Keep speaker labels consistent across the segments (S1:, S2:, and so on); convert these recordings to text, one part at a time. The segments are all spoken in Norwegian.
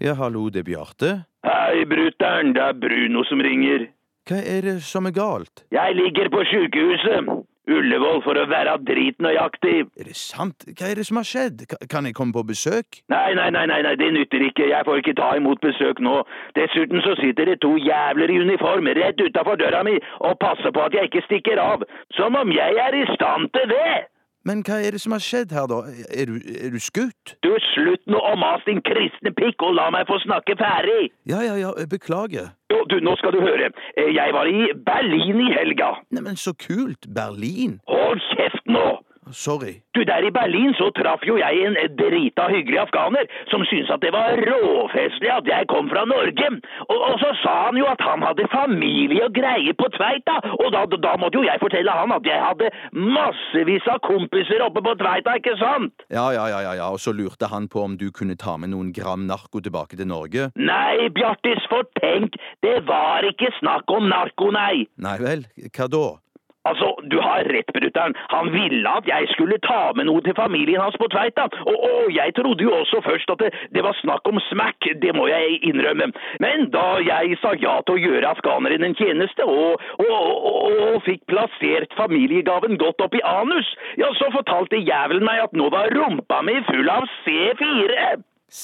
S1: Ja, hallo, det er Bjarte.
S2: Hei, brutter'n, det er Bruno som ringer.
S1: Hva er det som er galt?
S2: Jeg ligger på sjukehuset. Ullevål for å være dritnøyaktig.
S1: Er det sant? Hva er det som har skjedd? Ka- Kan jeg komme på besøk?
S2: Nei, nei, nei, nei, nei, det nytter ikke. Jeg får ikke ta imot besøk nå. Dessuten så sitter det to jævler i uniform rett utafor døra mi og passer på at jeg ikke stikker av. Som om jeg er i stand til det!
S1: Men hva er det som har skjedd her, da? Er du, er du skutt?
S2: Du, slutt nå å mase din kristne pikk og la meg få snakke ferdig!
S1: Ja, ja, ja, jeg beklager.
S2: Jo, du, nå skal du høre. Eh, Jeg var i Berlin i helga.
S1: Neimen, så kult! Berlin!
S2: Hold kjeft nå!
S1: Sorry.
S2: Du, der i Berlin så traff jo jeg en drita hyggelig afghaner som syntes at det var råfestlig at jeg kom fra Norge. Og, og så sa han jo at han hadde familie og greier på Tveita, og da, da måtte jo jeg fortelle han at jeg hadde massevis av kompiser oppe på Tveita, ikke sant?
S1: Ja, ja, ja, ja, ja, og så lurte han på om du kunne ta med noen gram narko tilbake til Norge.
S2: Nei, Bjartis, for tenk, det var ikke snakk om narko, nei.
S1: Nei vel, hva da?
S2: Altså, du har rett, brutter'n. Han ville at jeg skulle ta med noe til familien hans på Tveita. Og, og jeg trodde jo også først at det, det var snakk om smack, det må jeg innrømme. Men da jeg sa ja til å gjøre afghaneren en tjeneste, og, og, og, og, og fikk plassert familiegaven godt opp i anus, ja, så fortalte jævelen meg at nå var rumpa mi full av C4.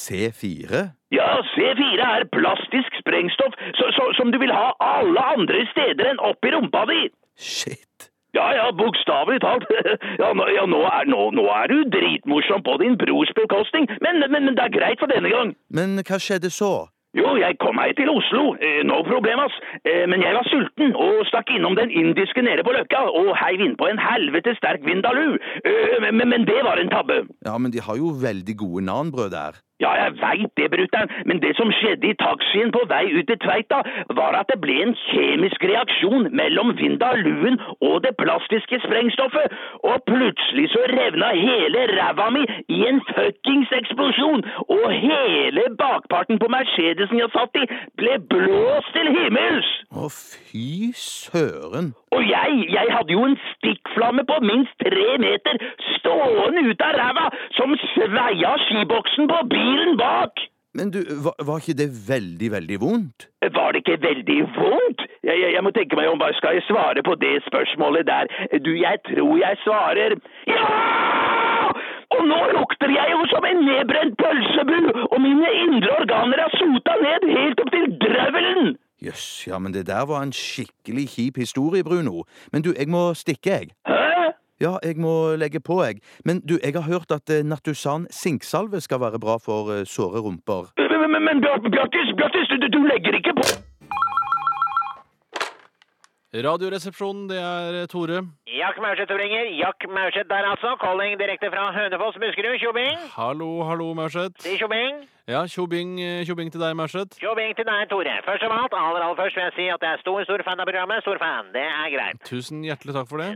S1: C4?
S2: Ja, C4 er plastisk sprengstoff så, så, som du vil ha alle andre steder enn opp i rumpa di.
S1: Shit.
S2: Ja, ja, bokstavelig talt. Ja, nå, ja, nå, er, nå, nå er du dritmorsom på din brors bekostning, men, men, men det er greit for denne gang.
S1: Men hva skjedde så?
S2: Jo, jeg kom meg til Oslo, eh, no problem, ass. Eh, men jeg var sulten og stakk innom den indiske nede på Løkka og heiv innpå en helvete sterk vindaloo. Eh, men, men- men det var en tabbe.
S1: Ja, men de har jo veldig gode nanbrød der.
S2: Ja, jeg veit det, brutter'n, men det som skjedde i taxien på vei ut til Tveita, var at det ble en kjemisk reaksjon mellom vindaluen og det plastiske sprengstoffet, og plutselig så revna hele ræva mi i en fuckings eksplosjon, og hele bakparten på Mercedesen jeg satt i, ble blåst til himmels!
S1: Å, fy søren.
S2: Og jeg, jeg hadde jo en stikkflamme på minst tre meter stående ut av ræva, som sveia skiboksen på bilen bak!
S1: Men du, var, var ikke det veldig, veldig vondt?
S2: Var det ikke veldig vondt? Jeg, jeg, jeg må tenke meg om, hva skal jeg svare på det spørsmålet der? Du, jeg tror jeg svarer ja! Og nå lukter jeg jo som en nedbrent pølsebu, og mine indre organer er sota ned helt opp til drøvelen!
S1: Jøss, ja, men det der var en skikkelig kjip historie, Bruno. Men du, jeg må stikke, jeg.
S2: Hæ?
S1: Ja, jeg må legge på, jeg. Men du, jeg har hørt at eh, Nattusan sinksalve skal være bra for eh, såre rumper.
S2: Men, men, men, men Bjart- Bjartis, Bjartis, du, du- du legger ikke på
S3: Radioresepsjonen, det er eh, Tore.
S4: Jack Maurseth som ringer. Jack Maurseth der, altså. Calling direkte fra Hønefoss, Buskerud. Tjobing.
S3: Hallo, hallo, Maurseth.
S4: Si tjobing.
S3: Ja, tjobing, eh, tjobing til deg, Maurseth.
S4: Tjobing til deg, Tore. Først av alt, aller aller først vil jeg si at jeg er stor, stor fan av programmet. Stor fan. Det er greit.
S3: Tusen hjertelig takk for det.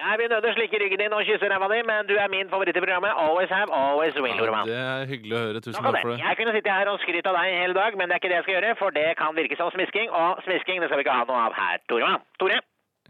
S4: Jeg vil nødig slikke ryggen din og kysse ræva di, men du er min favoritt i programmet. Always have, always will,
S3: Ja,
S4: Roman.
S3: det er hyggelig å høre. Tusen
S4: Takk for
S3: takk
S4: det.
S3: for det.
S4: Jeg kunne sitte her og skryte av deg hele dag, men det er ikke det jeg skal gjøre, for det kan virke som smisking, og smisking det skal vi ikke ha noe av her, Toremann. Tore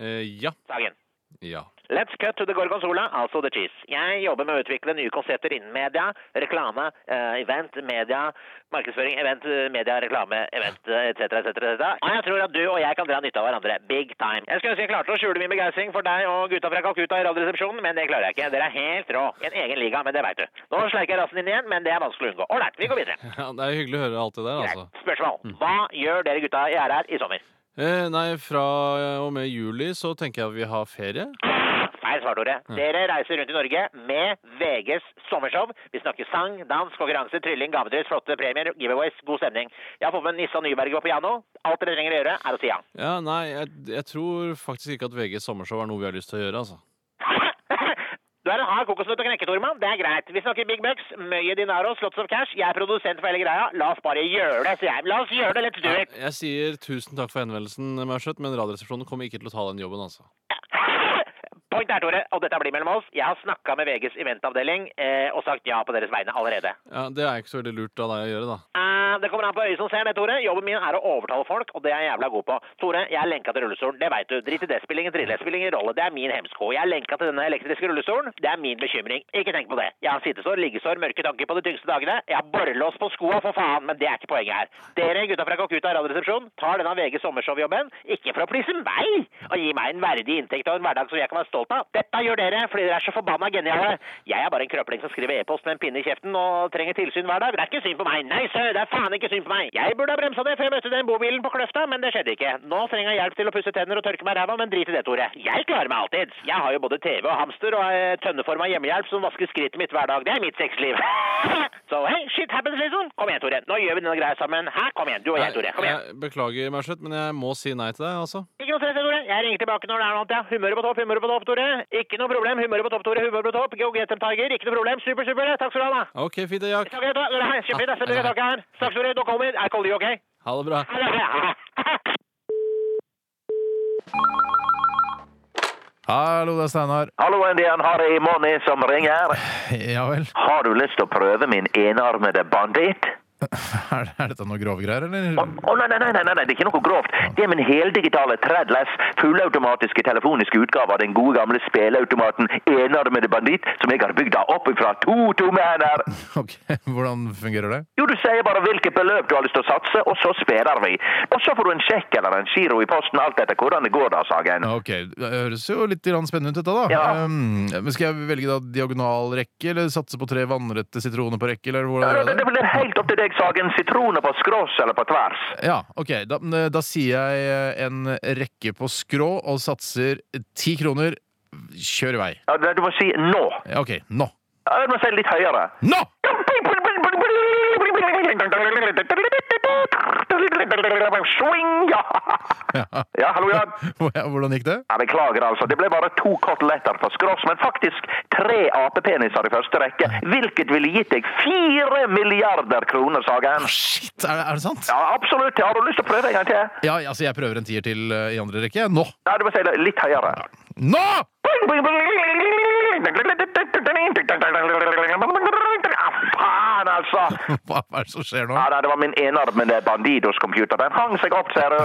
S3: Eh, Ja.
S4: Sagen.
S3: Ja.
S4: Let's cut to the gorgonzola, altså the cheese. Jeg jobber med å utvikle nye konsepter innen media, reklame, eh, event, media, markedsføring, event, eh, media, reklame, event, eh, etc., etc., etc. Og jeg tror at du og jeg kan dra nytte av hverandre. Big time. Jeg skulle ønske jeg klarte å skjule min begeistring for deg og gutta fra Calcutta i Radioresepsjonen, men det klarer jeg ikke. Dere er helt rå. I en egen liga, men det veit du. Nå sleiker jeg rassen din igjen, men det er vanskelig å unngå. Ålreit, vi går videre.
S3: ja. Det er hyggelig å høre alt det der, altså.
S4: Greit. Spørsmål. Hva gjør dere gutta i RR i sommer?
S3: Eh, Nei, fra eh, og med juli så tenker jeg at vi har ferie.
S4: Feil svar, Tore. Dere reiser rundt i Norge med VGs sommershow. Vi snakker sang, dans, konkurranse, trylling, gavedryss, flotte premier, giveaways, god stemning. Jeg har fått med Nissa Nyberg på piano. Alt dere trenger å gjøre, er å si ja.
S3: Ja, nei, jeg, jeg tror faktisk ikke at VGs sommershow er noe vi har lyst til å gjøre, altså.
S4: Du er en hard kokosnøtt å knekke, Tormann. Det er greit. Vi snakker big bucks, mye dinaro, slots of cash. Jeg er produsent for hele greia. La oss bare gjøre det, sier jeg. La oss gjøre det, let's do it.
S3: Jeg sier tusen takk for henvendelsen, Maurseth, men Radioresepsjonen kommer ikke til å ta den jobben, altså.
S4: Point er, Tore, og dette blir mellom oss, jeg har snakka med VGs eventavdeling eh, og sagt ja på deres vegne allerede.
S3: Ja, Det er ikke så veldig lurt av deg å gjøre, da.
S4: Eh, det kommer an på øyet som ser det, Tore. Jobben min er å overtale folk, og det er jeg jævla god på. Tore, jeg er lenka til rullestolen, det veit du. Drit i det, spiller ingen rolle, spiller ingen rolle. Det er min hemsko. Jeg er lenka til denne elektriske rullestolen, det er min bekymring. Ikke tenk på det. Jeg har sittesår, liggesår, mørke tanker på de tyngste dagene. Jeg har borrelås på skoa, for faen, men det er ikke poenget her. Dere gutta fra Kokuta radioresepsjon tar denne VG sommershowjobben, ikke for å plisse meg, og gi meg en verdig inntekt og en hverdag som jeg kan være stolt av. Dette gjør dere fordi dere er så forbanna geniale. Jeg er bare en krøpling som skriver e-post med en pinne i kjeften og trenger tilsyn hver dag. Det er ikke synd på meg. Nei, sir, det er faen ikke synd på meg. Jeg burde ha bremsa det før jeg møtte den bobilen på Kløfta, men det skjedde ikke. Nå trenger jeg hjelp til å pusse tenner og tørke meg ræva, men drit i det, Tore. Jeg klarer meg alltid. Jeg har jo både TV og hamster og eh, tønneforma hjemmehjelp som vasker skrittet mitt hver dag. Det er mitt sexliv. Så hey, shit happens, liksom. Kom igjen, Tore. Nå gjør vi denne greia sammen. Hæ? Kom igjen, du og jeg, Tore. Kom igjen.
S3: Jeg beklager, Merseth, men jeg må si nei til deg, altså.
S4: Ikke noe stress, Tore. Jeg ringer tilbake når det er noe annet, ja. Humøret på topp, humøret på topp, Tore. Ikke noe problem. Humøret på topp, Tore. Humøret på topp. Go get them, Tiger. Ikke noe problem. Super, super. Takk skal du ha, da.
S3: OK, fint det, Jack.
S4: Takk, Tore. Hei, Kjempefint. Jeg sender deg taket her. Snakkes, Tore. Dere kommer. I call you, okay?
S3: Ha det bra.
S4: Ha det.
S5: Hallo, det er Steinar.
S2: Hallo, det er Harry Money som ringer.
S5: Ja vel.
S2: Har du lyst til å prøve min enarmede banditt?
S5: Er, er dette noe grove greier,
S2: Å,
S5: eller?
S2: å, nei, nei, nei, nei, nei, det er ikke noe grovt. Det er min heldigitale tredless, fullautomatiske telefoniske utgave av den gode gamle speleautomaten Enarmede banditt, som jeg har bygd da opp fra to tomme hender.
S5: Ok, Hvordan fungerer det?
S2: Jo, du sier bare hvilket beløp du har lyst til å satse, og så spiller vi. Og så får du en sjekk eller en giro i posten, alt etter hvordan det går da, Sagen.
S5: Ok, Det høres jo litt grann spennende ut, dette. da
S2: Ja.
S5: um, Men Skal jeg velge da diagonal rekke, eller satse på tre vannrette sitroner på rekke?
S2: Ja,
S5: Eller hvordan
S2: Det, det
S5: er det?
S2: blir helt opp til deg, Sagen. Sitroner på skrås eller på tvers.
S5: Ja, ok. Da, men, eh, da sier jeg eh, en rekke på skrå og satser ti kroner. Kjør i vei.
S2: Ja, det- Du må si nå.
S5: Ja, Ok, nå.
S2: Ja, Du må si litt høyere.
S5: Nå!
S2: Swing, ja!
S5: Ja.
S2: Ja, hallo, ja.
S5: Hvordan gikk det?
S2: Ja, Beklager, altså. Det ble bare to koteletter på skross, men faktisk tre apepeniser i første rekke. Hvilket ville gitt deg fire milliarder kroner, Sagen.
S5: Shit, er det, er det sant?
S2: Ja, absolutt. Har du lyst til å prøve en gang til?
S5: Ja, altså jeg prøver en tier til eh, i andre rekke. Nå!
S2: Nei, du må si det litt høyere.
S5: Nå!
S2: Ah, faen, altså!
S5: Hva er det som skjer nå?
S2: Ja, nei, Det var min enarmede Bandidos-computer. Den hang seg opp, ser du.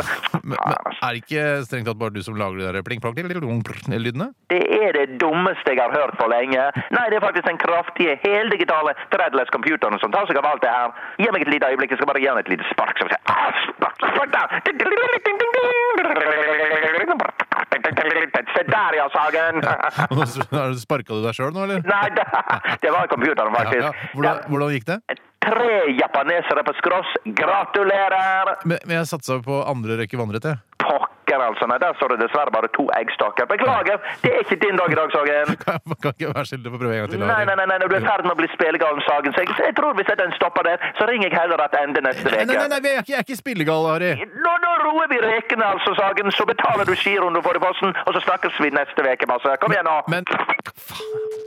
S5: Men, men,
S2: Faen, altså.
S5: er det ikke strengt tatt bare du som lager de der pling-plong-lydene?
S2: Det er det dummeste jeg har hørt på lenge. Nei, det er faktisk den kraftige, heldigitale threadless computeren som tar seg av alt det her. Gi meg et lite øyeblikk, jeg skal bare gi han et lite spark. Så vi ser. Ah, spark, spark da! Se der, ja, Sagen!
S5: Sparka du deg sjøl nå, eller?
S2: Nei, da. det var computeren,
S5: Ja, ja.
S2: faktisk.
S5: Hvordan, hvordan gikk det?
S2: Tre japanesere på skross. Gratulerer!
S5: Men, men jeg satsa på andre rekke vannrett, jeg.
S2: Pokker, altså. Nei, der står det dessverre bare to eggstokker. Beklager, det er ikke din dag i dag, Sagen.
S5: Kan, jeg- kan ikke være skyldig på å prøve en gang til.
S2: Nei,
S5: Harry?
S2: nei, nei, nei, du er i ferd med å bli spillegal om saken, så jeg, så jeg tror hvis jeg den stopper der, så ringer jeg heller at ende neste
S5: Nei, nei,
S2: uke.
S5: nei, nei, jeg er ikke, jeg er ikke spillegal, Harry.
S2: Nå, nå roer vi rekene, altså, Sagen. Så betaler du giroen du får i posten, og så snakkes vi neste uke, Masse. Kom igjen, nå.
S5: Men